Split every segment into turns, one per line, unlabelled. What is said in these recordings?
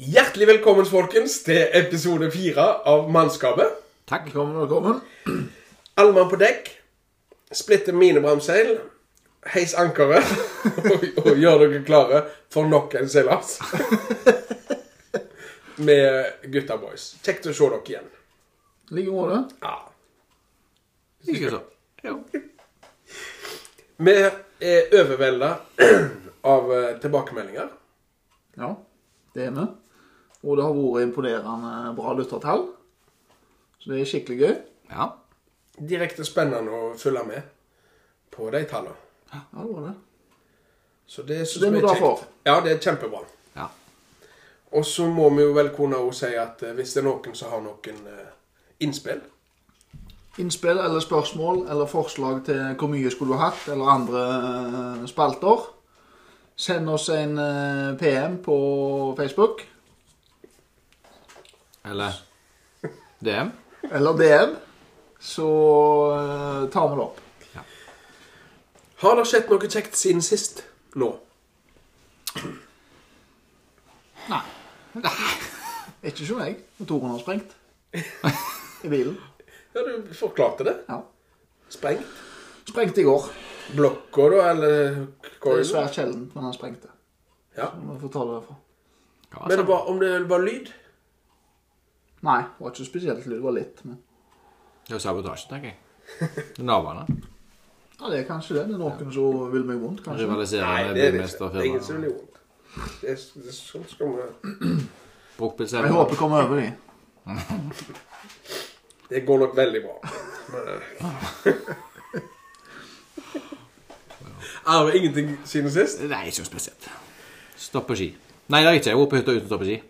Hjertelig velkommen, folkens, til episode fire av Mannskapet.
Takk. Velkommen, velkommen.
Alle mann på dekk. Splitte minebremseil. Heis ankeret. Og, og gjør dere klare for nok en seilas. Med gutta boys. Kjekt å se dere igjen.
Like måte.
Ja.
Ikke så. Jo.
Vi er overvelda av eh, tilbakemeldinger.
Ja, det er vi. Og det har vært imponerende bra lyttertall. Så det er skikkelig gøy.
Ja.
Direkte spennende å følge med på de tallene.
Ja, det var det.
Så det syns
Det må
vi
du
er
ha for.
kjekt. Ja, det er kjempebra.
ja.
Og så må vi jo vel kunne også si at eh, hvis det er noen som har noen eh, innspill,
Innspill eller spørsmål eller forslag til hvor mye skulle du hatt, eller andre eh, spalter, send oss en eh, PM på Facebook
Eller DM.
eller DM, så eh, tar vi det opp.
har det skjedd noe kjekt siden sist nå?
Ikke som meg. Motoren har sprengt. I bilen.
Ja, du forklarte det.
Ja.
Sprengt.
Sprengte i går.
Blokka, da, eller
Det er
coilen?
svært sjeldent, men han sprengte.
Ja.
Må få ta det derfra.
Hva
Men det
sa-
var, om det var lyd?
Nei, det var ikke spesielt lyd. Det var litt, men
Det var sabotasje, tenker jeg. Naboene.
Ja, det er kanskje det. Det er noen som vil meg vondt, kanskje.
Rivaliserende
det er det ikke. Det er ingen som
bymesterfirma.
vil gjøre det. Det er- det er Sånn skal vi
Jeg
Bruktbilselger.
håper jeg kommer over de.
Det går nok veldig bra. Ah. Men, eh. Er det Ah, ingenting siden sist?
Nei, ikke noe spesielt. Stopp på ski. Nei, det er ikke. Jeg har vært på hytta uten å stå på ski.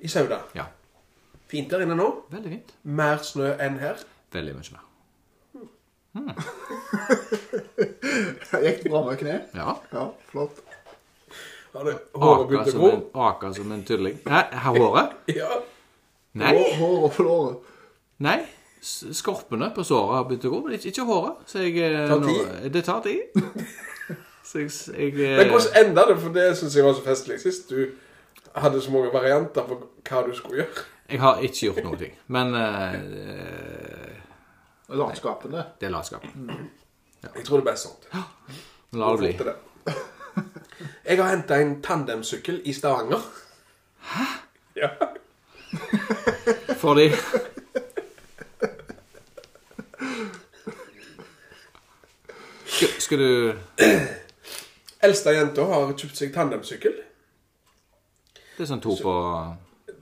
I Sauda.
Ja.
Fint der inne nå.
Veldig fint.
Mer snø enn her.
Veldig mye mer.
Gikk det bra med kne?
Ja.
Ja, flott.
Har det håret
Aka
begynt å
som en,
gro?
aka som en tulling. Hæ? Har håret?
Ja.
Nei.
Hår- Hår og flåret.
Nei. S- Skorpene på såret har begynt å gå, men ikke, ikke håret. Så jeg eh,
Tar
nå- Det tar tid. Så jeg, s- jeg eh,
Men hvordan enda det? For det syns jeg var så festlig sist. Du hadde så mange varianter på hva du skulle gjøre.
Jeg har ikke gjort noen ting. Men eh,
Latskapende.
det er latskap.
Jeg tror det ble sånn.
La det bli.
Fort til det. Jeg har henta en tandemsykkel i Stavanger. Hæ? Ja.
Fordi skal, skal du
Eldste jenta har kjøpt seg tandemsykkel.
Det er sånn to på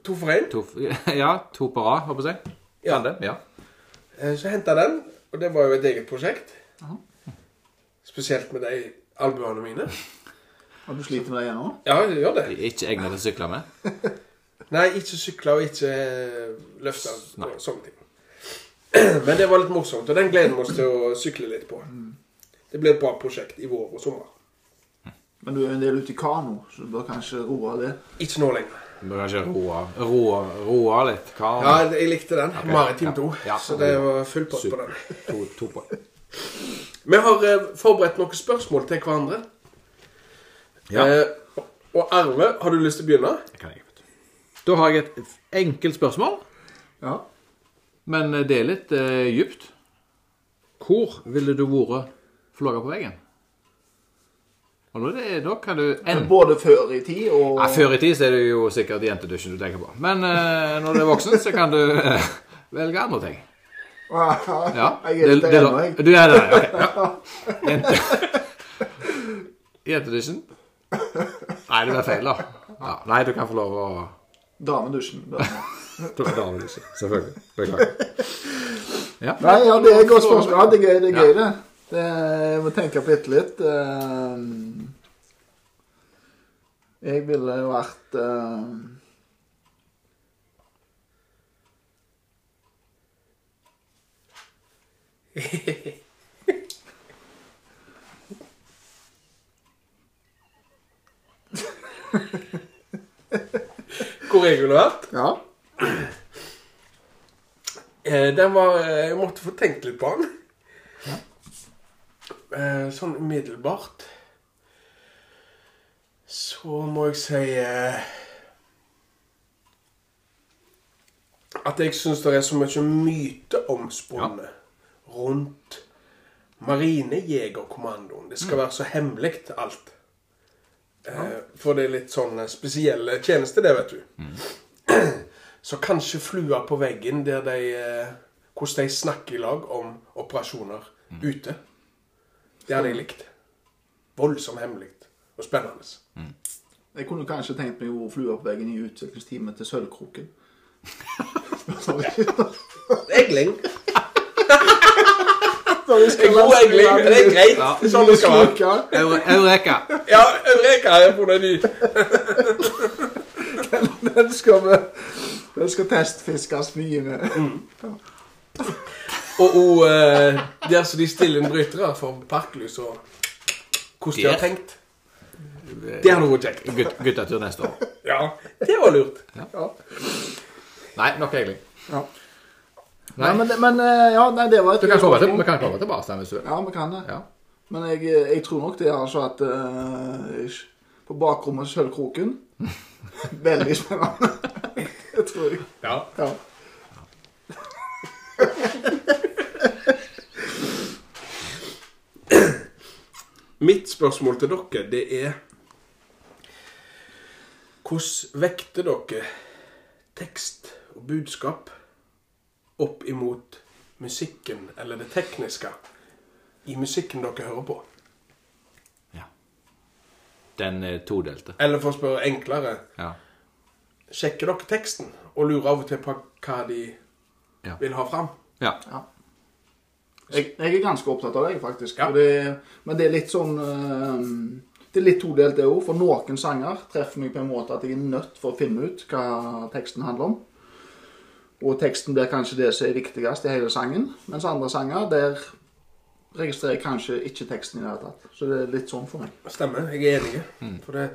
To for én.
to, Ja, to på rad, håper jeg.
Ja.
Tandem, ja.
Eh, Så henta den, og det var jo et eget prosjekt. Spesielt med de albuene mine.
Og du sliter med det ennå?
Ja, jeg gjør det.
De er Ikke egnet til å sykle med.
Nei, ikke sykle og ikke løfte og sånne ting. Men det var litt morsomt, og den gleder vi oss til å sykle litt på. Det blir et bra prosjekt i vår og sommer.
Men du er jo en del ute i kano, så du bør kanskje roe av det.
Ikke nå lenger.
Du må kanskje roe roe, roe litt. Hva
Ja, jeg likte den. Maritim
Ja.
2.
Ja.
Så det var full pott på den.
to, to på.
Vi har eh, forberedt noen spørsmål til hverandre.
Ja,
Eh, og Arve, har du lyst til å begynne?
det kan jeg. vet du. Da har jeg et enkelt spørsmål,
Ja.
men det er litt eh, djupt. Hvor ville du vært flagget på veggen? Og nå, er det, da kan du enten
Både før i tid og
Ja, før i tid så er det jo sikkert jentedusjen du tenker på. Men eh, når du er voksen, så kan du eh, velge andre ting. Ja.
Jeg er litt der ennå, jeg.
Du er der, ja, ok. Ja. Jente... Jentedusjen? Nei, det blir feil, da. Ja. Nei, du kan få lov å
Damedusjen. Dame.
Du er damedusjen, selvfølgelig. Beklager.
Nei, ja, det er et godt spørsmål. Ja, det er gøy, det. Er gøy, det. det jeg må tenke på bitte litt. Eh, Jeg ville jo vært eh,
Hvor jeg ville vært?
Ja.
Eh, den var eh, Jeg måtte få tenkt litt på den. Eh, sånn umiddelbart Så må jeg si eh, at jeg syns det er så mye myteomspunnet rundt Marinejegerkommandoen. Det skal være så hemmelig, alt. Eh, For det er litt sånn eh, spesielle tjenester, det, vet du. Så kanskje flua på veggen der de eh, Hvordan de snakker i lag om operasjoner ute. Det hadde jeg likt. Voldsomt hemmelig og spennende.
Jeg kunne kanskje tenkt meg å flue opp veggen i utviklingsteamet til Sølvkroken.
Egling.
Det
En god egling. Det er greit.
Ja.
Sånn det skal være.
Eure- Eureka!
Ja, Eureka er på den ny.
Den skal vi Den skal testfiskes mye med.
Mm. Og, og eh, der som de stiller inn brytere for parklys og hvordan de har
Der.
tenkt. Det hadde vært kjekt.
Gut, guttetur neste år.
Ja, det var lurt.
Nei, nok egentlig.
Ja.
Nei.
Nei, men, det- men eh, ja, nei, det var et
Du kan komme til, vi kan komme tilbake til den hvis du vil.
Ja, vi kan det.
Ja.
Men jeg, jeg tror nok det er altså at eh, ish, På bakrommet til Sølvkroken Veldig spennende. Det tror jeg.
Ja.
Ja.
Mitt spørsmål til dere, det er Hvordan vekter dere tekst og budskap opp imot musikken, eller det tekniske, i musikken dere hører på?
Ja. Den er todelte.
Eller for å spørre enklere
Ja.
Sjekker dere teksten og lurer av og til på hva de
Ja.
vil ha fram?
ja.
Jeg, jeg er ganske opptatt av det, faktisk.
Ja.
Og det, men det er litt sånn eh, Det er litt todelt, det òg. For noen sanger treffer meg på en måte at jeg er nødt for å finne ut hva teksten handler om. Og teksten blir kanskje det som er viktigst i hele sangen. Mens andre sanger, der registrerer jeg kanskje ikke teksten i det hele tatt. Så det er litt sånn for meg.
Stemmer. Jeg er enig. For det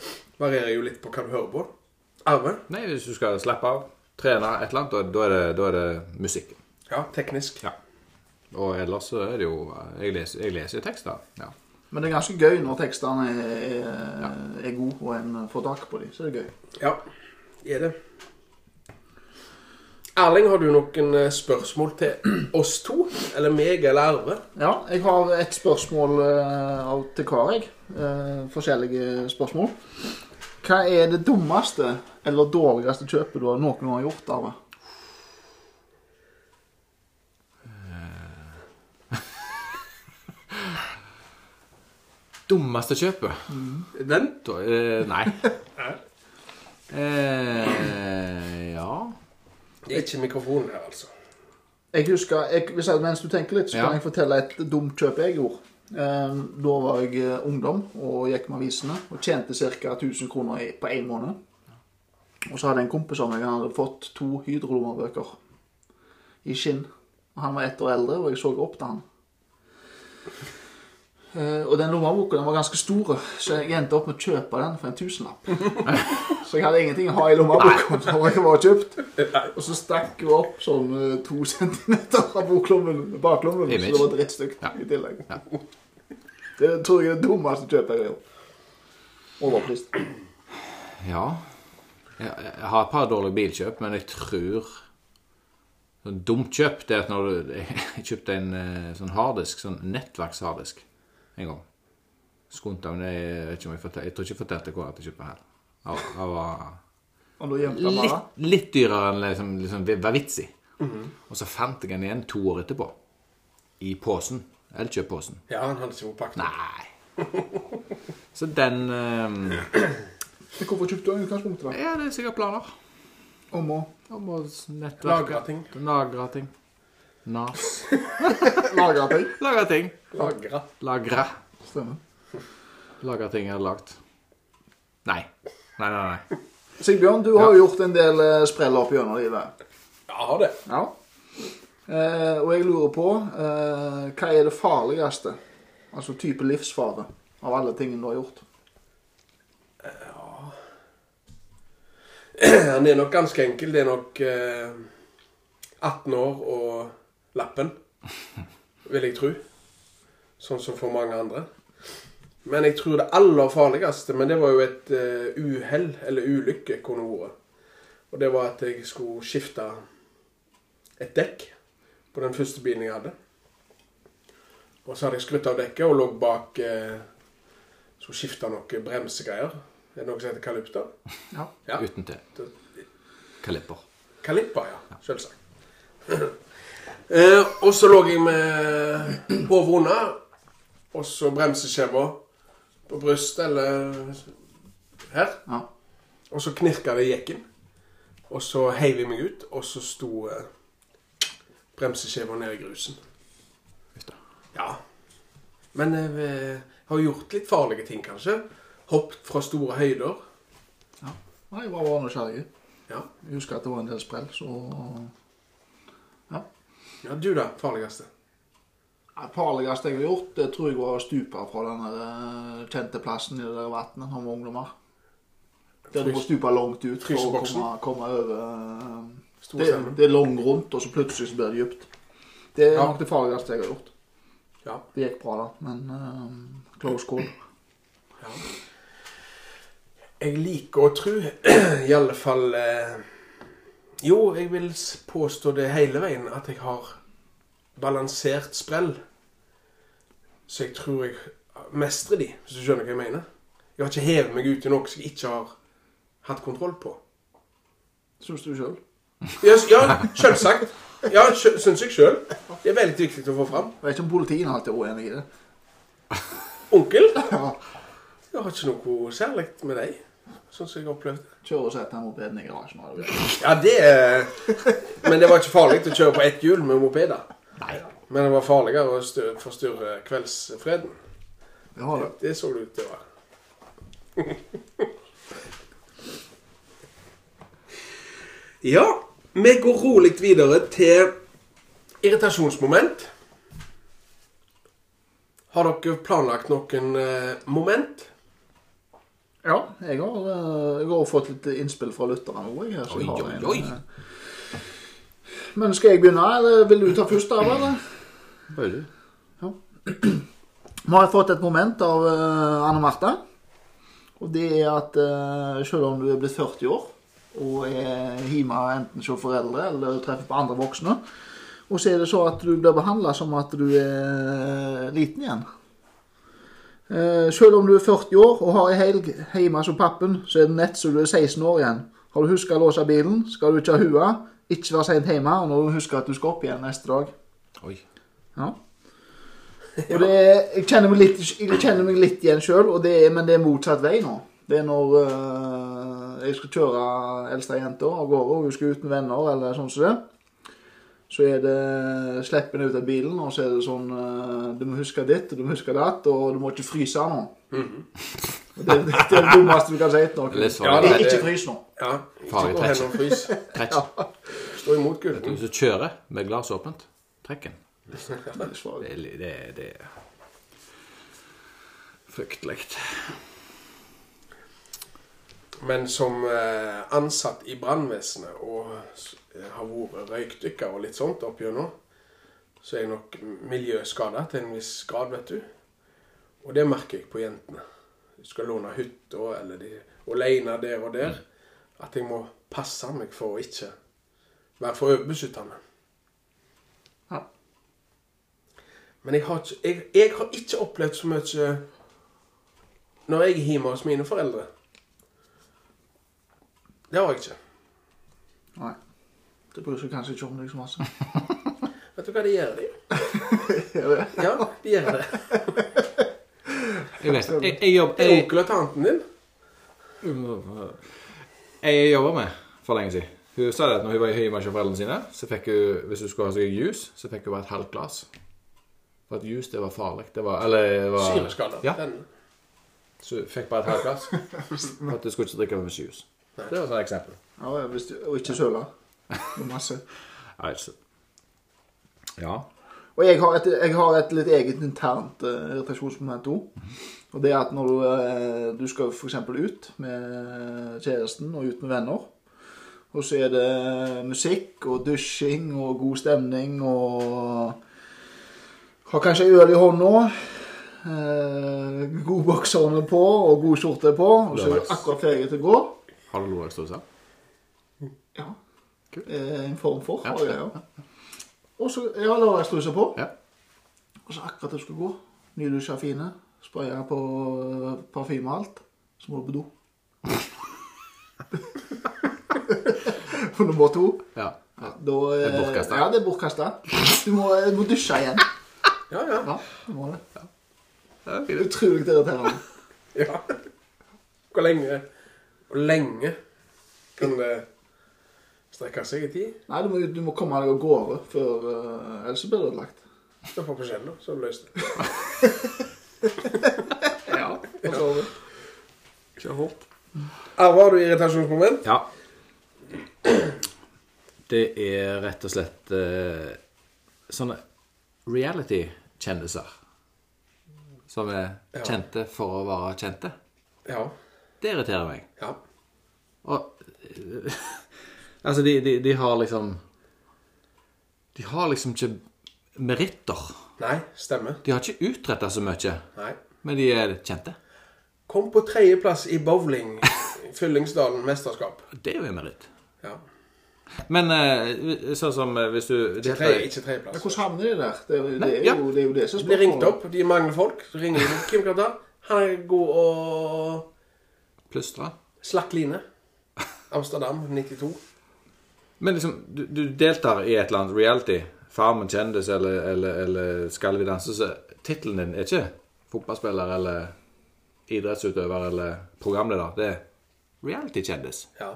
varierer jo litt på hva du hører på. Arve?
Nei, hvis du skal slappe av, trene et eller annet, da- da er det, da er det musikken.
Ja, teknisk.
Ja. Og ellers så er det jo Jeg leser, jeg leser jo tekster. Ja.
Men det er ganske gøy når tekstene er, er, er gode, og en får tak på dem. Så det er gøy.
Ja, er det. Erling, har du noen eh, spørsmål til oss to? Eller meg eller Arve?
Ja, jeg har et spørsmål eh, av- til hver, jeg. Eh, forskjellige spørsmål. Hva er det dummeste eller dårligste kjøpet du har noen gang har gjort, Arve?
Dummeste kjøpet?
Den?
Da, eh, nei. eh, ja
Det er ikke mikrofonen her, altså.
Jeg husker, jeg, hvis jeg, Mens du tenker litt, så
Ja.
kan jeg fortelle et dumt kjøp jeg gjorde. Eh, da var jeg eh, ungdom og gikk med avisene og tjente ca. 1000 kroner i, på én måned. Og så hadde jeg en kompis av meg han hadde fått to Hydro-lommebøker i skinn. Og Han var ett år eldre, og jeg så opp til han. Eh, og den lommeboka den var ganske stor, så jeg endte opp med å kjøpe den for en tusenlapp. så jeg hadde ingenting å ha i lommeboka som jeg var kjøpt. Og så stakk hun opp sånn eh, to centimeter av boklommen, baklommen, så
Image.
det var drittstygt
Ja.
i tillegg.
Ja.
Det tror jeg er det dummeste kjøpet jeg har gjort. Overprist.
Ja. Jeg, jeg har et par dårlige bilkjøp, men jeg tror sånn Dumt kjøp det er at når du Jeg kjøpte en eh, sånn harddisk, sånn nettverksharddisk, en gang. Skunta, men jeg, jeg, vet ikke om jeg, fortel, jeg tror ikke jeg fortalte hva jeg kjøpte her. Jeg, jeg var
Og da gjemte han bare.
litt, litt dyrere enn liksom, liksom Vavitsi.
Mhm.
Og så fant jeg den igjen to år etterpå. I posen. Elkjøp-posen.
Ja, han hadde ikke vært pakket.
Nei. Så den eh,
Hvorfor kjøpte du i utgangspunktet da?
Ja, det er sikkert planer.
Om å
Om å nettverke.
Lagre ting.
Lagre ting. Nas.
lagre ting.
Lagre ting.
Lagra.
Lagre.
Stemmer.
Lagre ting jeg hadde lagd. Nei. Nei, nei, nei.
Sigbjørn, du har jo gjort en del eh, spreller opp gjennom livet.
Ja, har det.
Ja. Eh, og jeg lurer på eh, Hva er det farligste? Altså type livsfare av alle tingene du har gjort.
Han er nok ganske enkel. Det er nok eh, 18 år og lappen, vil jeg tro. Sånn som for mange andre. Men jeg tror det aller farligste Men det var jo et eh, uhell, eller ulykke, kunne det vært. Og det var at jeg skulle skifte et dekk på den første bilen jeg hadde. Og så hadde jeg skrutt av dekket og lå bak eh, Så skifta noen bremsegreier. Er det noe som heter kalypter?
Ja.
Ja.
Uten til. Kalipper.
Kalippa, ja. Selvsagt. eh, og så lå jeg med hodet unna, og så bremseskjeva på brystet, eller her.
ja.
Og så knirka det i jekken. Og så heiv jeg meg ut, og så sto eh, bremseskjeva nede i grusen.
Uff da.
Ja. Men eh, jeg har gjort litt farlige ting, kanskje. Hoppet fra store høyder.
ja. Nei, jeg var bare nysgjerrig.
Ja,
Jeg husker at det var en del sprell, så Ja.
ja du da, farligste.
Det farligste jeg har gjort, det tror jeg var å stupe fra den der eh, kjente plassen i det der vannet når vi var ungdommer. Der du må stupe langt ut for å
Fryseboksen?
komme, komme over eh,
Store
det,
stemmen.
det er langt rundt, og så plutselig så blir det dypt. Det er
Ja.
nok det farligste jeg har gjort.
Ja.
Det gikk bra, da, men eh, close call.
Ja. Jeg liker å tro, i alle fall eh, Jo, jeg vil s- påstå det hele veien at jeg har balansert sprell. Så jeg tror jeg mestrer de, hvis du skjønner hva jeg mener. Jeg har ikke hevet meg ut i noe som jeg ikke har hatt kontroll på.
Syns du sjøl?
Ja, s- ja selvsagt. Ja, sjø- syns jeg sjøl. Det er veldig viktig å få fram.
Jeg vet ikke om politiet alltid er uenig i det.
Onkel,
Ja.
jeg har ikke noe særlig med deg, sånn som jeg opplevde det.
Kjører og setter den mopeden i garasjen. og det blir-
Ja, det er- Men det var ikke farlig å kjøre på ett hjul med mopeder.
Nei.
Men det var farligere å stø- forstyrre kveldsfreden.
Det har det.
Det så det ut til å være. Ja, vi går rolig videre til irritasjonsmoment. Har dere planlagt noen eh, moment?
Ja, jeg har, eh, jeg har fått litt innspill fra lytterne òg. jeg, så jeg
Oi,
har
oi,
en,
oi.
eh. Men skal jeg begynne, eller vil du ta først? da, eller?
Bare du.
Nå har jeg fått et moment av eh, Anne Marte. Og det er at eh, selv om du er blitt 40 år og er hjemme enten som foreldre eller treffer på andre voksne, og så er det så at du blir behandla som at du er liten igjen. Eh, selv om du er 40 år og har ei helg hjemme som pappen, så er det nett som du er 16 år igjen. Har du huska å låse bilen, skal du ikke ha hua, ikke være seint hjemme, og når du husker at du skal opp igjen neste dag.
Oi.
Ja. Og det, jeg, kjenner meg litt, jeg kjenner meg litt igjen sjøl, men det er motsatt vei nå. Det er når øh, jeg skal kjøre eldste jenta av gårde, og hun skal uten venner eller sånn som det. Så er det slipp henne ut av bilen, og så er det sånn øh, Du må huske ditt, og du må huske datt, og du må ikke fryse nå. Og det, det, er det dummeste du kan si til
Det er
noen.
Ja,
svaret.
nei,
Ikke- Ikke
det-
frys nå.
Ja. Ikke
Farlig
gå hen og frys.
Trekk.
Stå imot kulden.
Hvis du kjører med glasset åpent, trekken.
Det er svaret.
Det er li- det er- det er fryktelig.
Men som eh, ansatt i brannvesenet og s- eh, har vært røykdykker og litt sånt opp gjennom, så er jeg nok miljøskada til en viss grad, vet du. Og det merker jeg på jentene. De skal låne hytta eller de alene der og der. At jeg må passe meg for å ikke være for overbeskyttende.
Ja.
Men jeg har ikke, jeg, jeg har ikke opplevd så mye når jeg er hjemme hos mine foreldre. Det har jeg ikke.
Nei. Det bryr seg kanskje ikke om deg så masse.
Vet du hva de gjør, de? Ja, de gjør det.
Jeg vet Jeg, jeg, jobb,
Det er
jeg,
onkel og tanten din.
jeg jobba med for lenge siden. Hun sa det at når hun var hjemme hos foreldrene sine, så fikk hun, hvis hun skulle ha seg juice, så fikk hun bare et halvt glass. For at juice, det var farlig. Det var Eller det var
Syreskada.
Ja.
Den.
Så hun fikk bare et halvt glass. For at du skulle ikke drikke for mye juice. Det var et sånt eksempel.
Ja, hvis du, og ikke søle. Det er masse.
Nei, så- Ja.
Og jeg har et, jeg har et litt eget internt eh, irritasjonsmoment òg. Og det er at når du, eh, du skal f.eks. ut med kjæresten og ut med venner, og så er det musikk og dusjing og god stemning og Har kanskje en øl i hånda. Eh, god bokserne på og god skjorte på. Og så er du akkurat ferdig til å gå.
Har du lodagstruse?
Ja.
Kult.
Eh, En form for.
Ja,
Ja, ja. Og så ja, lørdagsstruser på.
Ja.
Og så akkurat det skulle gå. Nydusja fine. Spraya på eh, parfyme og alt. Så må du på do. For nummer to.
Ja.
Ja, da, eh,
Det er bortkastet.
Ja, det er bortkasta. Du må, eh, må dusje igjen.
Ja, ja.
Ja, du må det.
Det er fint.
Utrolig irriterende.
ja. Hvor lenge Hvor lenge kan det strekke seg i tid?
Nei, du må, du må komme deg av gårde før eh, Ellers så blir det ødelagt.
Da får vi skjell, da. Så har vi løst det.
Ja.
Og så-
Kjør hardt. Arve, har du irritasjonsmoment?
Ja. Det er rett og slett eh, sånne reality-kjendiser. Som er
Ja.
kjente for å være kjente.
Ja.
Det irriterer meg.
Ja.
Og eh, Altså, de, de, de har liksom De har liksom ikke meritter.
Nei. Stemmer.
De har ikke utretta så mye,
Nei.
men de er kjente.
Kom på tredjeplass i bowling. i Fyllingsdalen mesterskap.
Det er jo en meritt.
Ja.
Men eh, sånn som eh, hvis du
Tre,
det heter-
ikke
Men
tredjeplass.
hvordan havner de der? Det er, jo- det er,
ja.
jo, det er jo det som er
Blir ringt opp, de mangler folk. Så ringer de Kim kan ta. Han er god å
Plystra.
Slakk line. Amsterdam 92.
Men liksom, du, du deltar i et eller annet reality. Farmen kjendis eller, eller, eller Skal vi danse? Så tittelen din er ikke fotballspiller eller idrettsutøver eller programleder. Det er reality-kjendis.
Ja.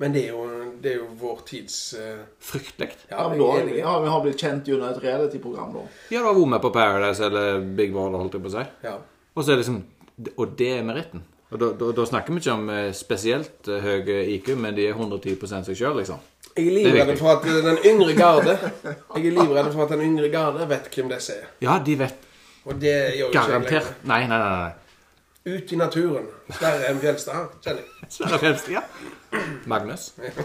Men det er jo, det er jo vår tids eh,
Fryktelig.
Ja, men
jeg er
da har vi-
enig.
ja, vi har blitt kjent gjennom et reality-program, da.
Ja, du har vært med på Paradise eller Big Brother, holdt jeg på å si.
Ja.
Og så er det liksom Og det er meritten. Og da, da, da snakker vi ikke om eh, spesielt eh, høy IQ, men de er 110 seg sjøl, liksom.
Jeg er
Det er
livredd
viktig.
for at eh, den yngre garde Jeg er livredd for at den yngre garde vet hvem disse er.
Ja, de vet
Og det gjør jo ikke jeg
garantert Nei, nei, nei. nei.
lenger. Ut i naturen. Sverre M. Fjelstad her, kjenner jeg.
Sverre Fremst, ja. Magnus. Med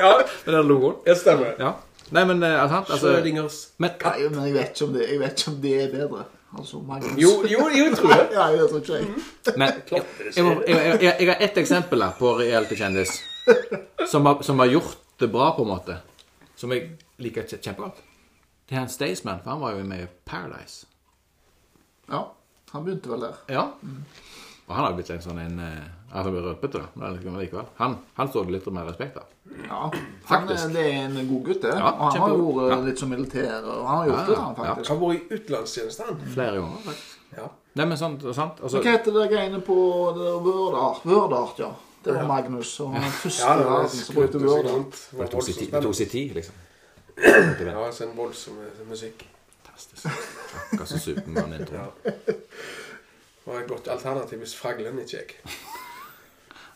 Ja,
den logoen.
det stemmer.
Ja. Nei, men eh, er sant? Altså,
Schrødingers
men
Nei, men jeg vet ikke om det, jeg vet ikke om det er bedre. Altså, Magnus.
Jo, jo, jo, tror jeg.
Ja, jeg tror ikke jeg.
Men jeg, jeg, må- jeg, jeg, jeg, jeg har ett eksempel her på reelt kjendis som har, som har gjort det bra, på en måte. Som jeg liker kje- kjempegodt. Det er han Staysman, for han var jo med i Paradise.
Ja, han begynte vel der.
Ja. Og han har blitt en sånn en eh, Altså blir røpete, da. Men liksom likevel. Han, han står det litt mer respekt av.
Ja, han,
Faktisk.
er- det er en god gutt, det.
Ja,
og han har jo
kjempegod.
vært eh,
Ja.
litt som militær, og han har gjort
Ja,
det, han
ja.
faktisk.
Har vært i utenlandstjeneste, han.
Flere ganger, faktisk.
Ja.
Nei, men sant. sant. Altså,
Men Hva heter det greiene på det der Vørdart? Vørdart, ja. Det var Magnus, og han var den første
Ja, det var
verden som brukte Vørdart.
det tok sin tid- det tok sin tid, liksom.
Ja, altså en voldsom eh, musikk.
Fantastisk. Akkurat som Supermann-introen.
Ja. Det var et godt alternativ hvis Fraglen ikke gikk.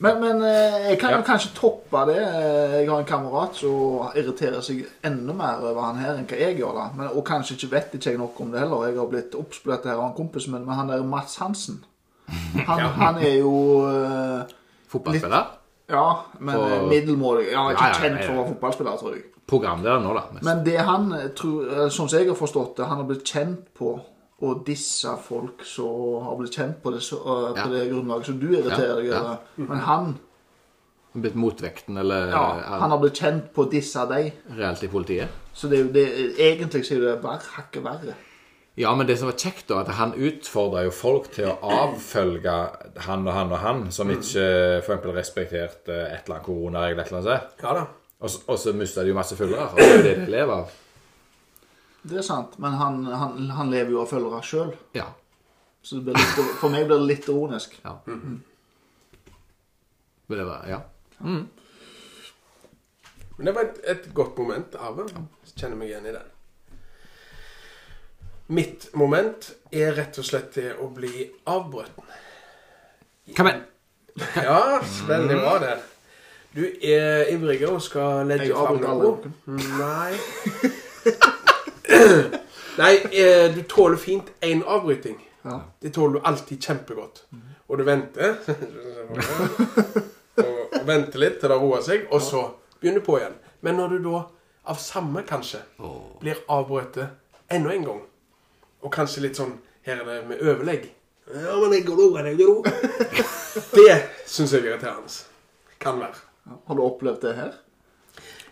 Men, men eh, jeg kan jo
Ja.
kanskje toppe det. Eh, Jeg har en kamerat som irriterer seg enda mer over han her enn hva jeg gjør. da. Men, og kanskje ikke vet ikke jeg nok om det heller. Jeg har blitt oppspilt her av en kompis min, men han der Mats Hansen Han, han er jo eh,
Fotballspiller?
Ja, men
Og-
og... middelmådig. Ja, ikke
Ja, ja,
kjent for å
ja, ja.
være fotballspiller, tror jeg.
Programleder nå, da. mest.
Men det han, eh, tror, eh, sånn som jeg har forstått det, han har blitt kjent på å disse folk som har blitt kjent på det, så, eh,
Ja.
på det grunnlaget som du irriterer deg
Ja, ja.
over. Men han
Blitt motvekten, eller
Ja,
er-
han har blitt kjent på disse av deg.
reelt i politiet.
Så det er jo det, egentlig så er det verre, hakket verre.
Ja, men det som var kjekt, da, at han utfordra jo folk til å avfølge han og han og han, som
Mm.
ikke for eksempel respekterte et eller annet koronaregel, et eller annet sånt.
Ja da.
Og så- Og så mista de jo masse følgere. Og det er jo det de lever av.
Det er sant, men han, han, han lever jo av følgere sjøl.
Ja.
Så det blir litt, for meg blir det litt ironisk.
ja. Men det var Ja.
Men det var et, et godt moment, Arve. Jeg Kjenner meg igjen i den. Mitt moment er rett og slett det å bli avbrutt.
Kom igjen!
Ja, veldig bra der. Du er ivrig og skal legge
Jeg
fram
avbryter alle
noe. Nei. Nei, eh, du tåler fint én avbryting.
Ja.
Det tåler du alltid kjempegodt. Og du venter. og, og venter litt til det roer seg, og så begynner du på igjen. Men når du da, av samme kanskje, blir avbrutt enda en gang, og kanskje litt sånn Her er det med overlegg. Ja, men jeg går over, jeg går over. Det syns jeg er irriterende. Kan være.
Har du opplevd det her?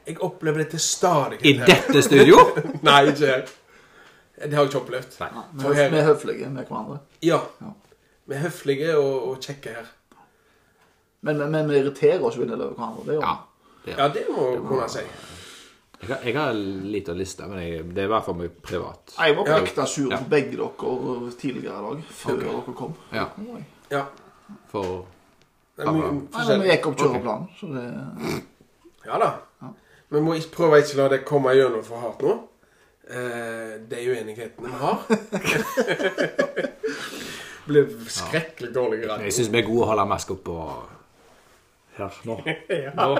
Jeg opplever det til stadighet.
I
her.
dette studio?
Nei, ikke her. Det har jeg ikke opplevd.
Nei.
Vi
For
er
her,
vi er høflige med hverandre.
ja.
Ja.
Vi er høflige og, og kjekke her.
Men, men, men vi irriterer oss jo en del over hverandre. Det gjør
Ja.
vi.
Det er.
Ja, det må kunne si.
Jeg, har, jeg har en liten liste, men jeg, det er i hvert fall mye privat.
Nei, Jeg var
Ja.
pekta sur på begge dere eh, tidligere i dag, før
Ok.
dere kom.
Ja,
Nei,
Ja.
for
Det er mye
men Vi
forskjellig.
gikk opp kjøreplanen, så det
Ja da. Vi må ikke prøve å ikke la det komme gjennom for hardt nå. Eh, de uenighetene vi har. Blir skrekkelig dårlig
Jeg
grad.
syns vi er gode å holde maska på her nå. nå.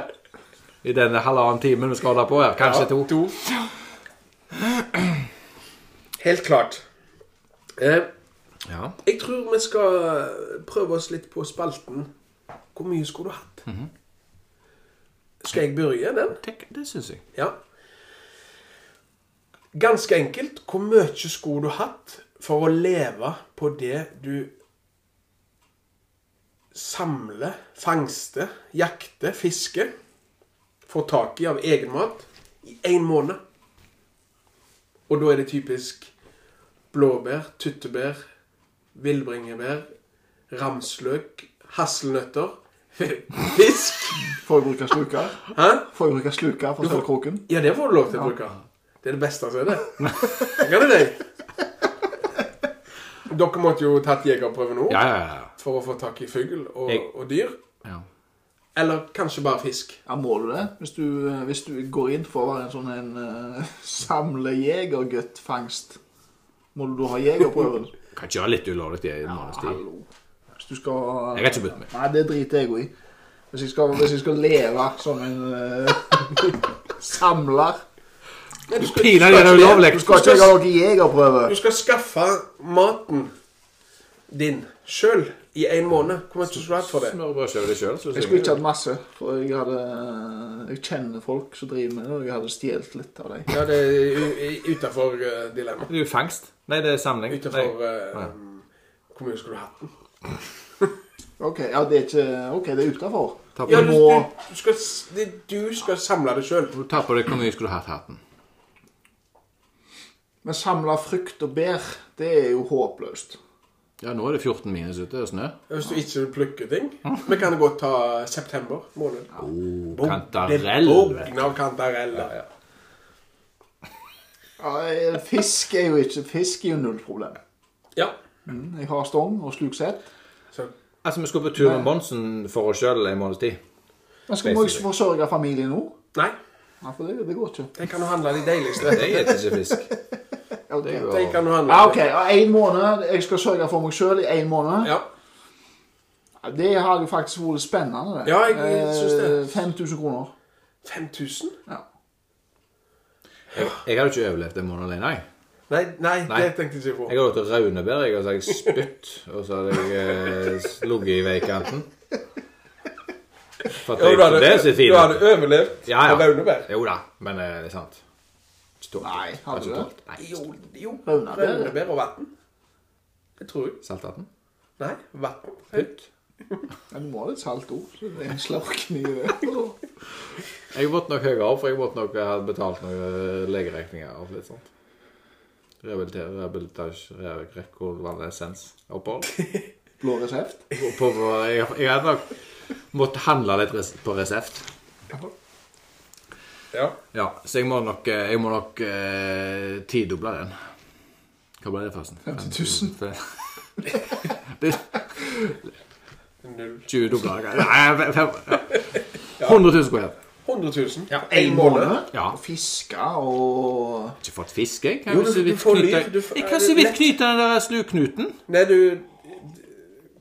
I den halvannen timen vi skal holde på her. Kanskje
Ja,
to.
Helt klart. Eh,
Ja.
jeg tror vi skal prøve oss litt på spalten. Hvor mye skulle du hatt?
Mhm.
Skal jeg begynne den?
Tenk, det syns jeg.
Ja. Ganske enkelt. Hvor mye skulle du hatt for å leve på det du samler, fangster, jakter, fisker, får tak i av egen mat, i én måned? Og da er det typisk blåbær, tyttebær, villbringebær, ramsløk, hasselnøtter, fisk
Får jeg bruke sluker?
Hæ?
Får jeg bruke sluker for å selge kroken?
Ja, det får du lov til å bruke. Det er det beste som er det. Gjør det deg? Dere måtte jo tatt jegerprøve nå
Ja, ja, ja.
for å få tak i fugl og,
Jeg-
og dyr.
ja.
Eller kanskje bare fisk.
Ja, må du det? Hvis du, eh, hvis du går inn for å være en sånn en uh, samlejegergutt-fangst, må du da ha jegerprøven?
Kan ikke gjøre litt ulovlig i en måneds tid.
Hallo. Hvis du skal
Jeg har ikke begynt med.
Nei, det driter jeg jo i. Hvis jeg skal, hvis jeg skal leve som en eh, samler
Nei, du, skal,
Pinadø er det ulovlig.
Du skal ikke ha noen jegerprøve.
du skal skaffe maten din sjøl i en måned. Hvor mye skulle du hatt for det?
Smørbrødskive deg sjøl, syns
Jeg skulle ikke hatt masse, for jeg hadde Jeg kjenner folk som driver med det, og jeg hadde stjålet litt av dem.
Ja, det er utafor uh, dilemmaet.
Det er jo fangst. Nei, det er samling.
Utafor uh,
Nei.
Hvor mye skulle du hatt den?
OK, ja, det er ikke OK, det er utafor.
Ta på,
Ja, du,
deg-
du, du, skal, s- det- du skal samle det sjøl.
du tar på deg hvor mye skulle du hatt hatten.
Men samla frukt og bær, det er jo håpløst.
Ja, nå er det 14 minus ute og snø.
Hvis du ikke vil plukke ting. Vi kan godt ta september måned.
Oh,
Bom,
kantarell.
Det
vet du.
bogner av kantareller.
Ja, eh, fisk er jo ikke Fisk er jo null problem.
Ja.
Mm, Jeg har stong og sluksett.
Så,
Altså, vi skulle på tur med Bonsen for oss sjøl en måneds tid.
Men skal må jeg forsørge familien nå?
nei,
Ja, for det, det går ikke.
jeg kan jo handle de deiligste.
Jeg spiser ikke fisk.
Ja, det,
jo-
Jeg kan jo handle
ja, OK. ja, En måned. Jeg skal sørge for meg sjøl i én måned.
Ja.
Ja, Det har jo faktisk vært spennende. det.
Ja, jeg synes det.
Eh, 5000 kroner.
5000?
Ja.
Jeg, jeg hadde ikke overlevd en måned alene, jeg.
Nei, nei,
Nei.
det tenkte jeg ikke på.
Jeg har gått til Raunebær, jeg, og så har jeg spytt, og så hadde jeg eh, ligget i veikanten. For at
Jo,
jeg,
du hadde,
det er så
du hadde
fint.
overlevd
Ja, ja.
på Raunebær.
Jo da, men eh, det er sant. Stort.
Nei, hadde du det?
Stort. Nei,
Jo, jo.
Raunebær.
Raunebær og vann. Det tror jeg.
saltaten.
Nei, vann.
Putt.
Men du må ha litt salt òg. Så det er en slurken i det.
Jeg måtte nok høyere opp, for jeg måtte nok ha betalt noen legeregninger og litt sånt. Rehabilitere, rehabilitasje, rekonvalesens, opphold.
Blå resept.
På- på- Jeg, jeg hadde nok måttet handle litt res- på resept.
Ja.
Ja, så jeg må nok, eh, jeg må nok eh, tidoble den. Hva ble det forresten?
50
Det-
Null.
20 dobler. Nei, fem- fem- ja. 100 000 kroner.
100 000. Ja,
En måned.
Ja.
Og Fiske og
Ikke fått fisk, jeg. Kan
Jo,
jo,
du-
så
du
vidt
får
knyte,
liv, du får-
jeg kan så vidt knyte den der sluknuten.
Nei, du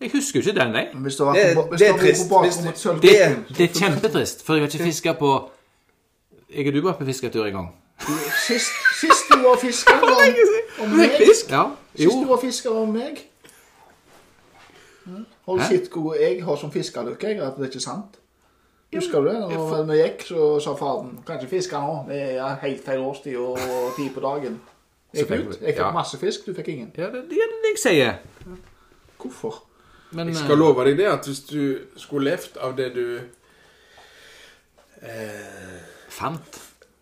Jeg husker jo ikke den, jeg.
Men Hvis du har
Det-
vært på- hvis
det
du
er
har vært
trist.
på bakrommet
Hvis du-
til Sølvgutten,
Det, det er kjempetrist, for jeg har ikke fiska på Jeg og du var på fisketur en gang.
Sist, sist du var fisker var om meg.
Ja, jo.
Sist du var fisker var om meg. Hm? Har du
Hæ?
sett hvor jeg har som fiskerlykke? Jeg, At det er ikke sant? Husker du det? Når vi gikk, så sa faren Kan ikke fiske nå. Det er helt feil årstid og tid på dagen. Jeg
fikk
gikk ut.
vi-
Jeg
ja.
fikk masse fisk, du fikk ingen.
Ja, det det er det jeg sier.
Hvorfor?
Men
Jeg
eh,
skal love deg det, at hvis du skulle levd av det du eh,
fant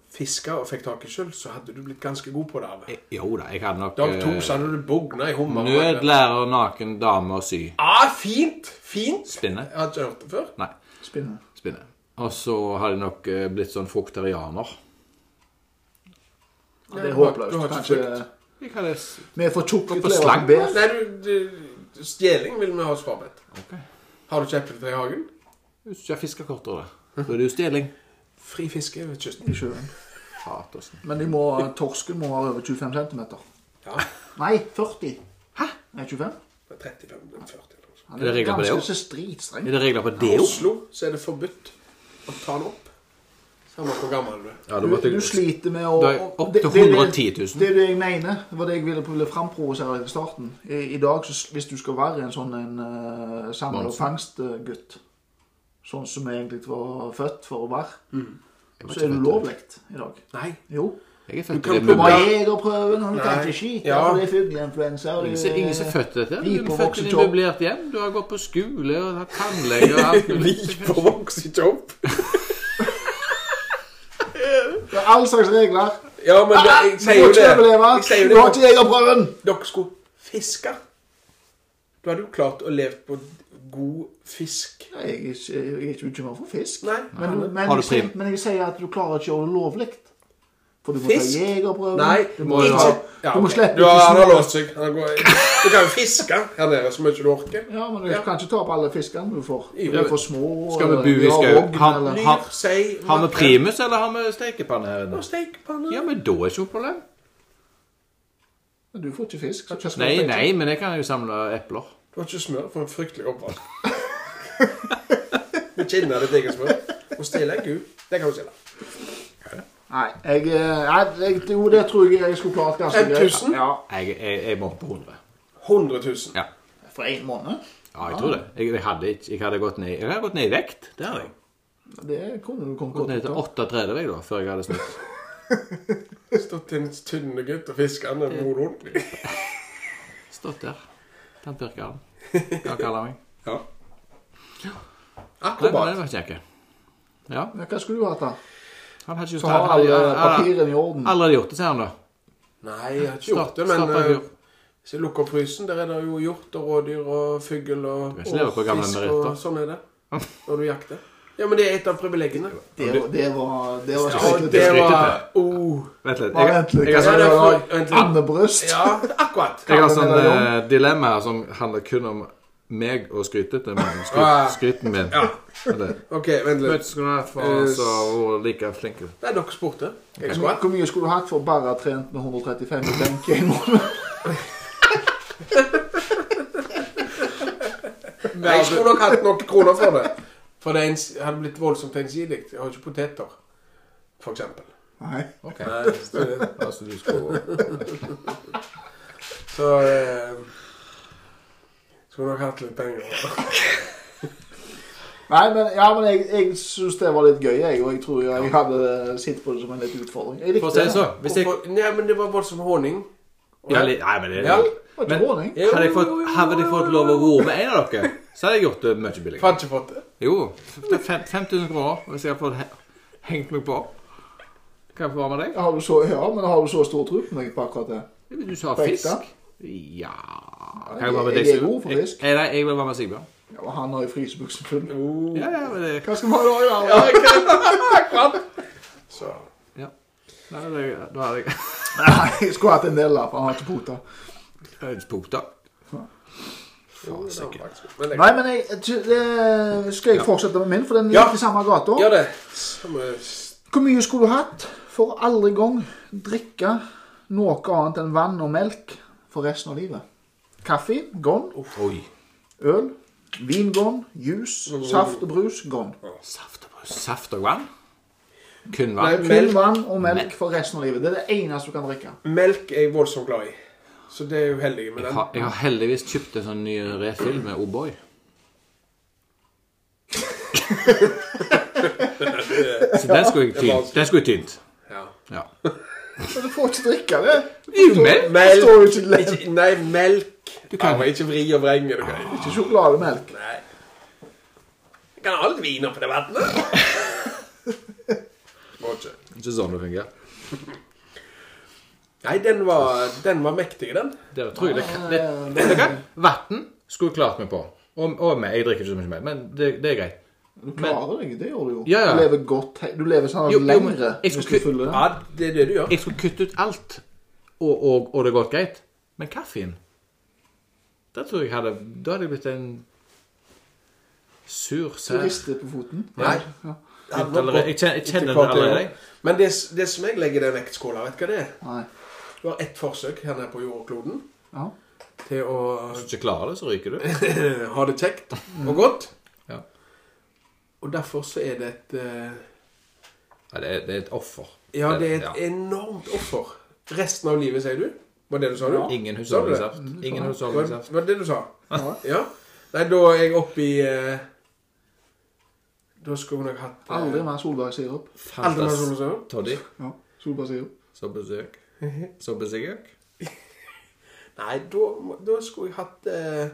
fiska og fikk tak i sjøl, så hadde du blitt ganske god på det. Arve.
Eh, Jo da, jeg hadde nok
Dag to
eh,
så hadde du bugna i hummer.
Nødlærer naken dame å sy.
Ah, fint! Fint!
Spinne.
Jeg har ikke hørt det før.
Nei,
Spinne.
spinne. Og så hadde jeg nok eh, blitt sånn fruktarianer.
Ja, det er
du har- du
håpløst.
har ikke
Kanskje
Jeg hadde s-
Vi er for tjukke
Gå på
til å leve
slang.
med bær.
Nei, du, du Stjeling vil vi ha oss frabedt.
Ok.
Har du ikke epletre i hagen?
Hvis du ikke har fiskekortere, så er det jo stjeling.
Fri fiske ved kysten.
i sjøen.
Faen, Torsten.
Men de må, torsken må ha over 25 cm.
Ja.
Nei, 40. Hæ? Nei, 25?
det er 35-40 eller noe sånt.
Han
Er det regler på det også?
ganske så stridstreng.
Er det regler på det
I
òg?
Oslo så er det forbudt å ta den opp. Samme hvor gammel du er.
Ja,
Du, du sliter med å
Da er opp til
det- det er det-
110 000.
Det er det jeg mener. Det var det jeg ville, ville framprovosere i starten. I, I dag, så, s- hvis du skal være en sånn en uh, samler- og
Monsen.
fangstgutt, sånn som jeg egentlig var født for å være, så er det ulovlig i dag.
Nei.
Jo.
Jeg er
Du
født
kan
til det
Du må
plukke-
mulig.
ha jegerprøven, og du kan
Nei.
ikke skyte,
Ja.
for det er fugleinfluensa. og
Ingen
det
som-
er-
Ingen som er født til dette. Du
Vi på
er født til et
voksetjobb.
møblert hjem. Du har gått på skole og hatt tannlege og alt mulig.
på vokser ikke opp.
Det er all slags regler.
Ja, men det, jeg sier jo
Du
det.
må ikke overleve.
Jeg sier
Du
jo
har
det.
ikke jegerprøven.
Dere skulle fiske. Du hadde jo klart å leve på god fisk.
Jeg er ikke, jeg er ikke bekymret for fisk.
Nei.
Men, men,
Har du
jeg sier,
prim?
men jeg sier at du klarer ikke å gjøre det lovlig. For du må
Fisk?
ta jegerprøven.
Nei,
du må,
ikke-
ta,
Ja,
du må
ok.
slippe
Du har,
ut
han har
små-
låst seg. Han går, du kan jo fiske her nede så mye du orker.
Ja, men du kan ikke ta opp alle fiskene du får.
Jo.
Du er for små.
Skal vi
eller
bo i
de har
skau?
rogn,
Han-
eller-
Lyr, sei,
Har vi
makrell
primus, eller har vi stekepanne her inne?
og stekepanne.
Ja, men da er ikke noe problem.
Men Du får ikke fisk. så skal
Nei,
du-
nei, men jeg kan jo samle epler.
Du har ikke smør for en fryktelig oppvask. Med kinnet ditt eget smør. Og stille en gud. Det kan du stille.
Nei, jeg, eh, nei, jeg, jo, det tror jeg jeg skulle klart ganske
1000?
Ja,
Jeg, jeg, jeg må på 100.
100 000.
Ja,
for en måned.
ja jeg tror det. Jeg, jeg, hadde, ikke- jeg, hadde gått ned, jeg hadde gått ned i vekt. Det hadde jeg.
Det kunne du kommet godt
Gått ned
ut av.
til 38 jeg, da, før jeg hadde snudd.
Stått en tynne gutt og fiska med mor ordentlig.
Stått der. Tannpirkeren. Hva han kaller meg.
Ja.
Nei, men det
Akrobat.
var kjekke. Ja,
Men Hva skulle du hatt, da?
han hadde ikke
Så har
han- eh,
alle
han-
papirene i orden.
Alle hadde gjort det, sier han da.
Nei, jeg har ikke gjort det,
Stapp-
men
stappet
eh,
hjort.
hvis jeg lukker opp frysen, der er det jo hjort og rådyr og fugl og,
Du
og
kan ikke leve på gamle
og
meritter.
sånn er det når du jakter. Ja, men det er et av privilegiene.
Det, var- det var Det var,
Ja,
skrekkelig.
det
skryter
var oh.
Vent litt.
Bare
Jeg,
vent litt.
jeg,
Ja,
jeg,
det er for-
Altså,
vent litt.
Andebryst.
Ja, akkurat.
jeg har sånn
Kaller meg
eh, dilemma her som handler kun om meg og skrytete, men
Ah.
skryt, skryten min. Eller,
OK, vent litt.
Møtes kunne jeg få altså, vært like flink.
Nei, dere spurte. Jeg skulle ha.
Hvor mye skulle du hatt for å bare ha trent med 135 i benk i en måned?
Nei, Jeg skulle nok hatt noen kroner for det. For det er ens- hadde blitt voldsomt ensidig. Jeg har jo ikke poteter, for eksempel.
Nei.
Ok,
Nei, så-
altså du skulle...
Så eh, Skulle nok hatt litt penger.
Nei, men, ja, men jeg, jeg syns det var litt gøy, jeg. Og jeg tror jeg hadde sett på det som en litt utfordring. Jeg
For å
likte
si det
det.
sånn, hvis jeg...
Hvorfor- Nei, men det var voldsom honning.
Ja, li- nei, men det
Ja.
Det var ikke
Men-
dårlig.
Jo,
Hadde jeg fått,
jo, jo,
hadde jeg
jo,
fått
jo,
lov å
jo.
roe med en av dere, så hadde jeg gjort det mye billigere.
Fant ikke fått det.
Jo, det er fem- 5000 kroner hvis jeg hadde fått he- hengt meg på. Kan jeg få være med deg?
Har du så, ja, men har du så stor tro på meg på akkurat det?
Du sa
På ekte?
fisk. Ja Kan jeg være med deg?
Jeg er
Sigurd?
god for fisk.
Jeg, nei, jeg vil være med Sigbjørn.
Ja, og han har jo frysebuksen full.
Oh.
Ja, ja, men det,
Hva skal vi ha da? Ja, ja.
Så
ja. Nei, det, da hadde jeg
Nei, jeg skulle hatt en del der, for han har ikke pota.
Jeg hadde ikke punkta.
jo, det var faktisk- men jeg-
Nei, men jeg, jeg- det, skal jeg fortsette med min, for den
Ja.
gikk i samme gata.
Gjør det. eh, Så må jeg s-
Hvor mye skulle du hatt for å aldri gang drikke noe annet enn vann og melk for resten av livet? Kaffe, gone.
Oi. Mm.
Øl, vin, gone. Juice, saft og brus, gone.
Saft og brus. Saft og vann? Kun
Nei,
vann?
Kun
melk.
vann og melk for resten av livet. Det er det eneste du kan drikke.
Melk er jeg voldsomt glad i. Så det er jo heldig med
Jeg
den.
har, jeg har heldigvis kjøpt en sånn ny refill med O'boy. Så den skulle jeg tynt. Den skulle jeg tynt.
Ja.
Ja.
Men du får ikke drikke det.
Jo, men-
Det står jo ikke til lett.
ikke, Nei, melk. Du
kan-
kan ikke vri og vrenge. Du kan.
Ikke sjokolademelk.
Nei. Jeg kan ha alt vin oppi det vannet. Var ikke.
Ikke sånn det fungerer.
Nei, den var, den var mektig, den.
Det tror jeg det kan det,
Eh,
Vet du hva? Vann skulle jeg klart meg på. Og, og meg. Jeg drikker ikke så mye mer, men det, det er greit.
Du klarer deg, det gjør du jo.
Ja, ja.
Du lever godt he- Du lever sånn
Jo, jo, men
lengre
jeg
hvis
skulle
du
ku-
følger det.
Ja, det er det du gjør.
Jeg skulle kutte ut alt, og, og, og det har gått greit. Men kaffen Da tror jeg hadde Da hadde jeg blitt en sur
Så
sær
rister det på foten.
Nei.
Ja.
Det hadde
Litt allerede-
gått
jeg kjenner- jeg
etter
kjenner det
hvert, ja.
allerede.
Men det, det som jeg legger i den vektskåla, vet du hva det er?
Nei.
Du har ett forsøk her nede på jordkloden
Ja.
til å
Hvis du ikke klarer det, så ryker du.
ha det kjekt og godt.
Ja.
Og derfor så er det et eh,
Ja, det, er, det er et offer.
Ja, det er et
e-
ja.
enormt offer. Resten av livet, sier du? Var det du sa, du?
Ingen
Sa du det?
husholdningssaft. Ingen
Var,
husholdningssaft.
var det det du sa?
Ja.
Ja. Nei, da er jeg oppe i eh, Da skulle hun nok hatt eh,
Aldri mer solbærsirup.
Aldri mer solbærsirup.
Toddy.
Ja. Solbærsirup.
Så besøk. Så besøk jeg.
Nei, da, må- da skulle jeg hatt eh,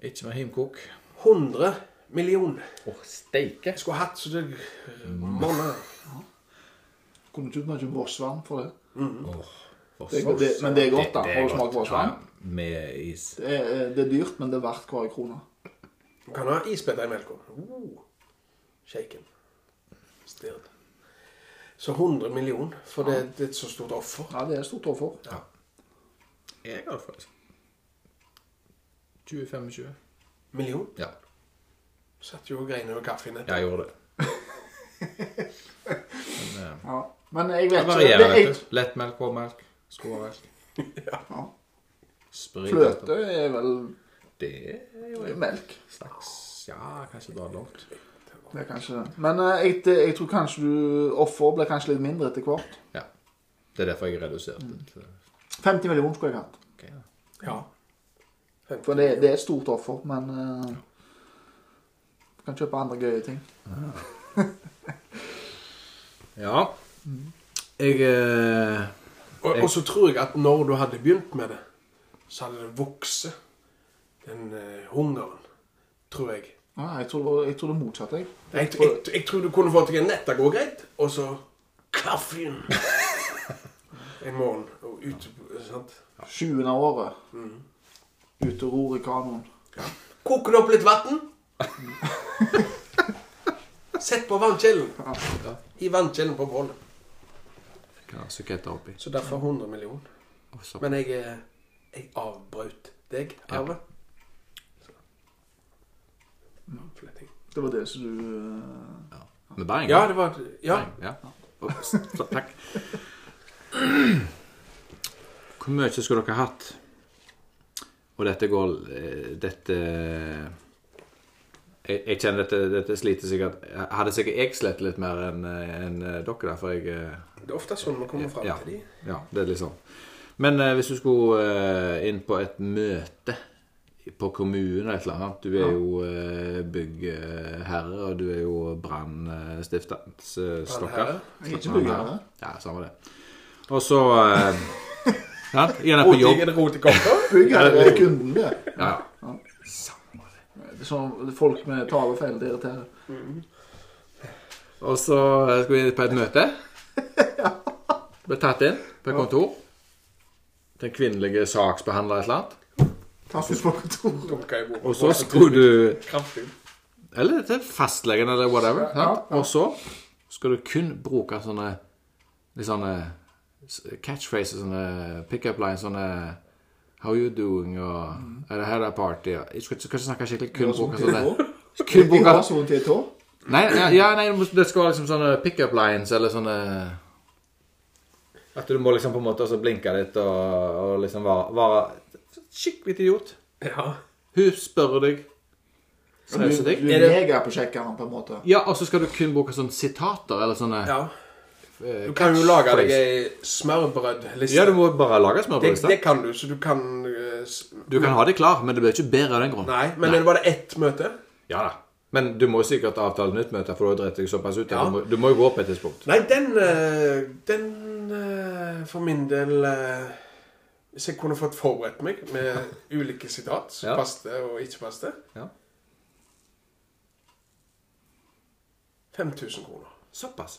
Ikke med himkok.
100 millioner.
Å, steike.
Jeg skulle hatt så det Måneder.
Kunne ikke ut mye vossvann for det.
Åh, for
Det er
så-
godt, det- men det er godt, da. Har du
godt.
smakt vårsvann?
Ja, Med is.
Det er, eh, det er dyrt, men det er verdt hver krone.
Du kan ha isbiter i melka. Uh, shaken. Stirred. Så 100 millioner, for det, det er et så stort offer.
Ja, det er stort offer.
Ja.
Jeg har det faktisk. 20-25.
Million?
Ja,
Satt jo og grein over kaffen. etter.
jeg gjorde det. Men, eh,
Ja. Men jeg vet ikke
det
det,
varierer,
jeg,
vet du. Lettmelk, råmelk, skåmelk.
ja.
Sprit.
Fløte er vel
Det er jo en
melk.
slags Ja, kanskje dra langt.
Det er kanskje det. Men eh, jeg, det- jeg tror kanskje du offer blir kanskje litt mindre etter hvert.
Ja. Det er derfor jeg reduserte det til
50 millioner skulle jeg hatt.
Ok, ja.
Ja.
For det, det er et stort offer, men eh, Du kan kjøpe andre gøye ting.
Ja. Jeg eh,
Og, og så tror jeg at når du hadde begynt med det, så hadde det vokst, den eh, hungeren. Tror jeg.
Ja, jeg tror det var- jeg tror det motsatte, jeg.
Jeg, jeg, jeg tror du kunne fått deg en nett, det går greit, og så kaffen en morgen. Og ut, sant?
20. året. Ute og ror i kanoen.
Koke det opp litt vann. Sett på vannkjelen. I vannkjelen på bålet.
Hva har suketter oppi?
Så derfor 100 millioner.
Å, så-
Men jeg, eh, jeg avbrøt deg, Arve. Så. Fletting.
Det var det som du eh,
Med bæring?
Ja, det var Ja.
Ja. Ops, ta- takk. Hvor mye skulle dere hatt? Og dette går eh, Dette jeg, jeg kjenner dette, dette sliter sikkert Hadde sikkert jeg slitt litt mer enn eh, enn dere, der, for jeg eh,
Det er ofte sånn man kommer fram
ja,
til de.
ja, det er litt sånn. Men eh, hvis du skulle eh, inn på et møte på kommunen eller et eller annet Du er jo eh, byggherre, og du er jo brannstiftstokker.
Brannherre.
Jeg er ikke byggherre.
Ja, samme det. Og så eh, sant? Gjerne
Rot
på
i-
jobb.
er det rot i kopper?
Byggherre er kunden, det.
Ja,
Det er Sånn folk med talefeil det irriterer.
Og så eh, skal vi på et møte. Blir tatt inn på et kontor. Den kvinnelige saksbehandler et eller annet.
Taffes på kontoret.
Dunka i bordet.
Og så skulle du
Kraftig.
Eller til fastlegen, eller whatever. sant? Og så skal du kun bruke sånne litt sånne s- catchphrases, sånne pickup lines, sånne How you doing? og Er det her det er party? og- Jeg skal, ikke- skal ikke snakke skikkelig, kun bruke sånne Kun
De har
bruke
sånn til et år.
Nei, ja, ja, nei, det må- det skal være liksom sånne pickup lines, eller sånne At du må liksom på en måte også blinke litt og, og liksom være, være skikkelig idiot.
Ja.
Hun spør deg.
Du,
Seriøst deg.
du
Er
er
det-
mega på sjekkeren, på en måte.
Ja, og så skal du kun bruke sånne sitater, eller sånne
ja.
eh,
Du kan jo lage deg
catchphrase.
ei smørbrødliste.
Ja, du må bare lage
det,
smørbrødliste.
det kan du, så du kan eh, s-
Du kan ha det klar, men det blir ikke bedre av den grunn.
Nei, men er det bare ett møte?
Ja da. Men du må jo sikkert avtale nytt møte, for da driter jeg såpass ut. at
Ja.
Du, må, du må jo gå opp et tidspunkt.
Nei, den eh, Den eh, for min del eh, Hvis jeg kunne fått forberedt meg med ulike sitat som
Ja.
passet og ikke passet
Ja.
5000 kroner.
Såpass.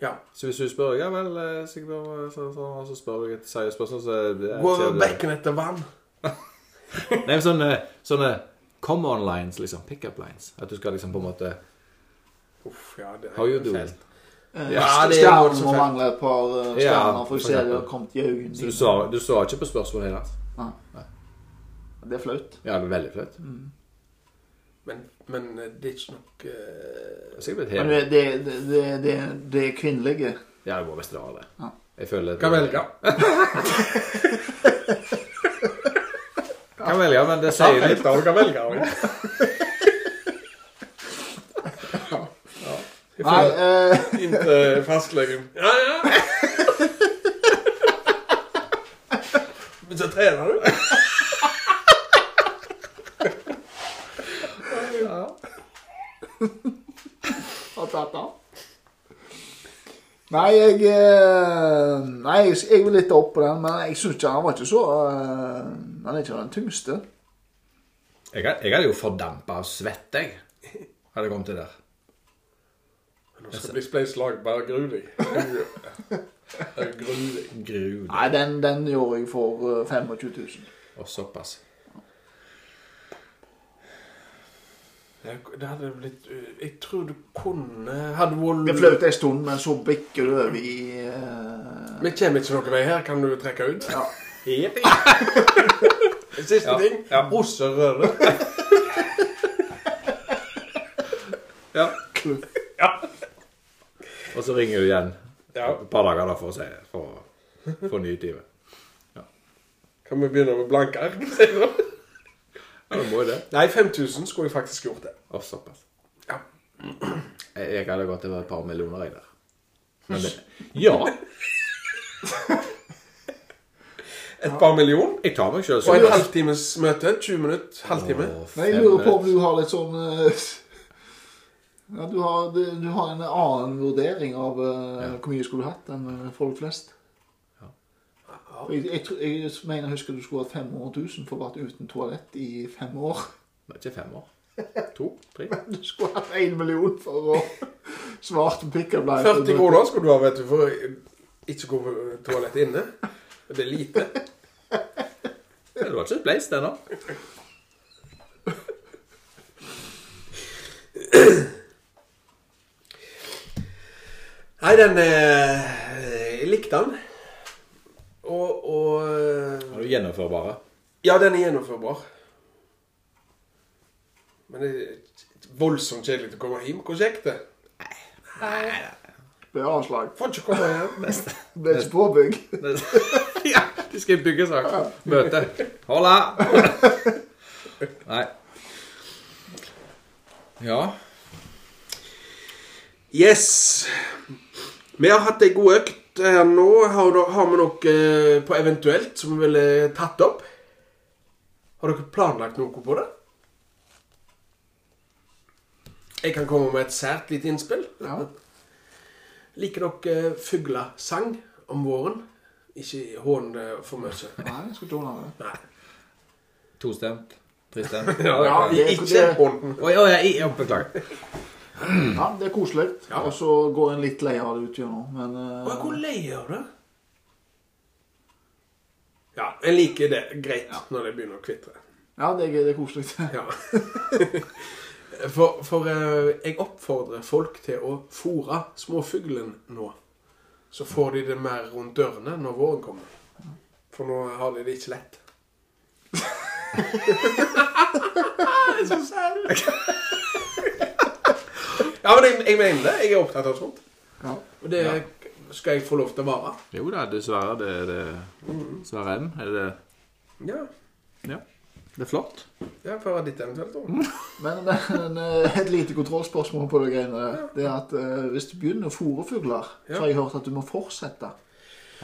Ja.
Så hvis du spør ja vel, eh, Sigbjørn, så, så, og så spør du et seriøst spørsmål, så eh,
Går
sier du-
bekken etter vann?
Nei, men sånne, sånne come on lines, liksom. Pick up lines. At du skal liksom på en måte
Uff, ja, det
How you doing?
fælt.
Ja,
Ja, det er jo
Stjernen
så
må
feil.
mangle et par eh,
Ja,
stjerner, for
for
jeg ser det
eksempel.
har kommet i øynene.
Så du
dine.
svarer, du svarer ikke på spørsmålet heller?
Det er flaut.
Ja, det er veldig flaut.
Men, men eh, det er ikke nok eh,
Det er sikkert et
Men
helt
det, det, det, det, det er kvinnelige.
Ja, det må visst være det.
Ja.
Jeg føler
Kan velge.
Kan velge, men det sier litt.
av kan velge. ja.
Nei, eh,
Inntil fastlegen. Ja, ja. Men så trener du.
har tatt av. Nei, jeg eh, Nei, jeg, jeg var litt opp på den, men jeg syns ikke han var ikke så eh, Han er ikke den tyngste.
Jeg, had- jeg hadde jo fordampa av svette, jeg. Hadde jeg kommet til der.
Nå skal det bli spleis lag, bare gru deg. Jeg Gru deg.
Gru deg.
Nei, den, den gjorde jeg for eh, 25 000.
Og såpass.
Det det hadde blitt eh, Jeg tror du kunne eh, Hadde vært
Det flaut en stund, men så bikker det over i eh,
Vi kommer ikke noen vei her. Kan du trekke ut?
Ja.
Siste
Ja,
ting.
ja.
Osserøre.
Ja. Og så ringer du igjen
Ja.
et par dager da for å, se, for, å få ny time.
Kan vi begynne med blanke ark? sier du?
Ja, du må jo det.
Nei, 5000 skulle jeg faktisk gjort det.
Og såpass.
Ja.
Jeg, jeg hadde gått over et par millioner, jeg der. Men det, ja.
Et par million.
Jeg tar meg sjøl
Og en
seriøst.
halvtimes møte. 20 minutter. Halvtime.
Men jeg lurer på om du har litt sånn eh, ja, du, har, du, du har en annen vurdering av eh, hvor mye skulle du hatt enn eh, folk flest. For Jeg, jeg, tror- jeg mener jeg husker du skulle hatt 500 000 for å vært uten toalett i fem år.
Nei, Ikke fem år. To? Tre?
Du skulle hatt 1 million for å svarte pickup line.
40 kroner skulle du ha, vet du, for å ikke gå på toalettet inne. Det er lite.
Det var ikke et place, det nå.
Nei, den eh, Jeg likte den. Og, og
Var du gjennomførbare?
Ja, den er gjennomførbar. Men det er voldsomt kjedelig å komme hjem. Hvor kjekt det er.
Ble avslag.
Får ikke komme hjem.
Ble ikke påbygg.
ja, de skal i byggesak. Møte. Hola! Nei. Ja.
Yes. Vi har hatt ei god økt her nå. Har, du- har vi noe eh, på eventuelt som vi ville tatt opp? Har dere planlagt noe på det? Jeg kan komme med et sært lite innspill.
Ja.
Liker dere eh, fuglesang om våren? Ikke hån det for mye.
Nei, jeg skulle ikke ordne det.
Nei.
Tostemt. Tristemt.
Ja, det er
ikke
det.
hånden.
Oi, oi, jeg, jeg beklager.
Ja, det er koselig.
Ja.
Og så går en litt lei av det ut gjennom, men eh,
Å, Hvor lei er du? Ja, jeg liker det greit når det begynner å kvitre.
Ja, det er, det er koselig.
Ja. For, for eh, jeg oppfordrer folk til å fôre småfuglen nå. Så får de det mer rundt dørene når våren kommer. For nå har de det ikke lett. Det er så særlig. ja, men jeg, jeg mener det. Jeg er opptatt av sånt.
Ja.
Og det skal jeg få lov til å være.
Jo da, dessverre. Det er det Sverre M. Er det
Ja,
Ja. Det er flott.
ja for å være ditt eventuelt. da.
Men, men eh, et lite kontrollspørsmål på det greiene der. Det er at eh, hvis du begynner å fôre fugler, så har jeg hørt at du må fortsette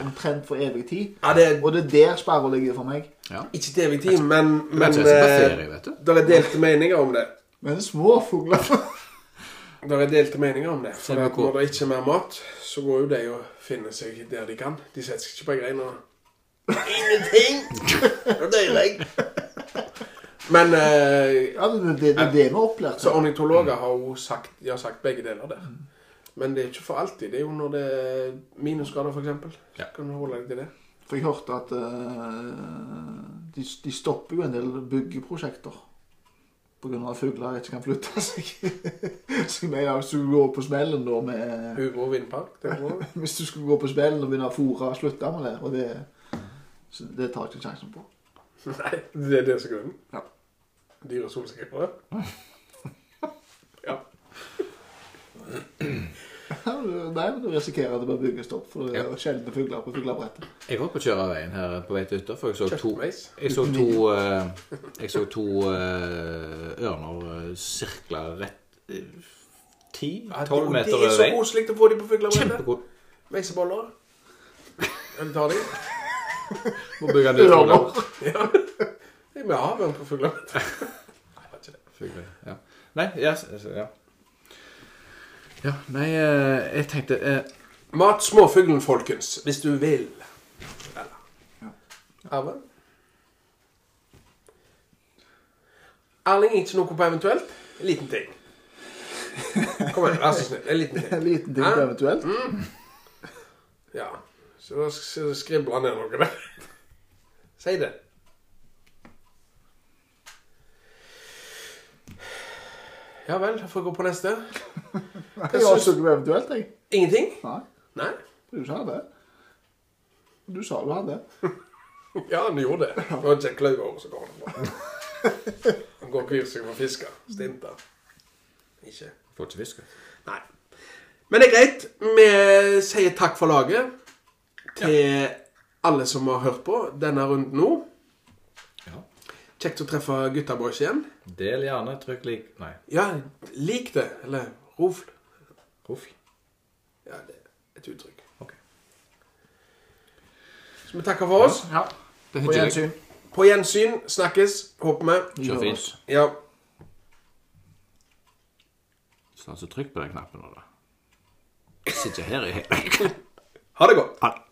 omtrent for evig tid.
Ja, det er
Og det er der sperra ligger for meg.
ikke til evig tid, men,
Men,
men
ikke jeg skal på
eh,
ferie, vet du.
det er delte meninger om det.
Men små fugler
Det er delte meninger om det. For
Ser vi
at
hvor-
når det ikke er mer mat, så går jo de og finner seg der de kan. De setter seg ikke på greina. Ingenting! Nå dør jeg. Men eh,
Ja, det det- det er det vi har opplært.
så ornitologer har jo sagt, de har sagt begge deler der. Men det er ikke for alltid. Det er jo når det er minusgrader, f.eks. Så
Ja.
kan du holde deg til det.
For jeg hørte at eh, de, de stopper jo en del byggeprosjekter pga. at fugler ikke kan flytte seg. så jeg mener, hvis du går på smellen da med
Huvre og vindpark. Det er bra.
Hvis du skulle gå på smellen og begynne å fôre, slutte med det. Og det, så det tar jeg ikke sjansen på.
Nei, det er det som er grunnen.
Ja.
Dyre solsikker. Ja.
Nei, men du risikerer at det blir byggestopp, for det er sjeldne fugler på fuglebrettet.
Jeg var på kjøreveien her på vei til hytta, for jeg så to
Kjøttmeis.
Jeg så to, eh, jeg så to eh, ørner eh, sirkla rett
Ja, det-
10-12
og
meter
Det er
over
så
veien.
koselig å få de på fuglebrettet.
Kjempegod.
Meiseboller. Eller ta de.
Må bygge nye skoler.
Nei, Vi har vært på fuglebrettet. Nei, det var ikke det.
Fugler, Ja. Nei, ja, s- s- ja. ja Nei, eh, jeg tenkte eh,
Mat småfuglen, folkens, hvis du vil. Eller. Arve? Erling, ikke noe på eventuelt? En liten ting. Kom igjen, vær så snill. En liten ting.
En liten ting
Hæ?
eventuelt.
Ja. Så da sk- skribler han ned noe der. Si det. Ja vel, da får jeg gå på neste.
Jeg har ikke noe eventuelt, jeg.
Ingenting?
Nei,
Nei?
du sa det. Du sa du hadde.
Ja, han gjorde det. Det var Jack Lauer som går det bra. Han går og kvir seg for fisker. Stinter. Ikke.
Får ikke fiske.
Nei. Men det er greit. Vi sier takk for laget til alle som har hørt på denne runden nå.
Ja.
Kjekt å treffe gutta boys igjen.
Del gjerne. Trykk lik Nei.
Ja, lik det. Eller rofl.
Huff.
Ja, det er et uttrykk.
Ok.
Så vi takker for oss.
Ja.
Det er
På
hyggelig.
gjensyn.
På gjensyn. Snakkes, håper vi.
Kjør fint.
Ja.
Så altså, trykk på den knappen nå, da. Sitter her i hele
Ha det godt.
Ha det.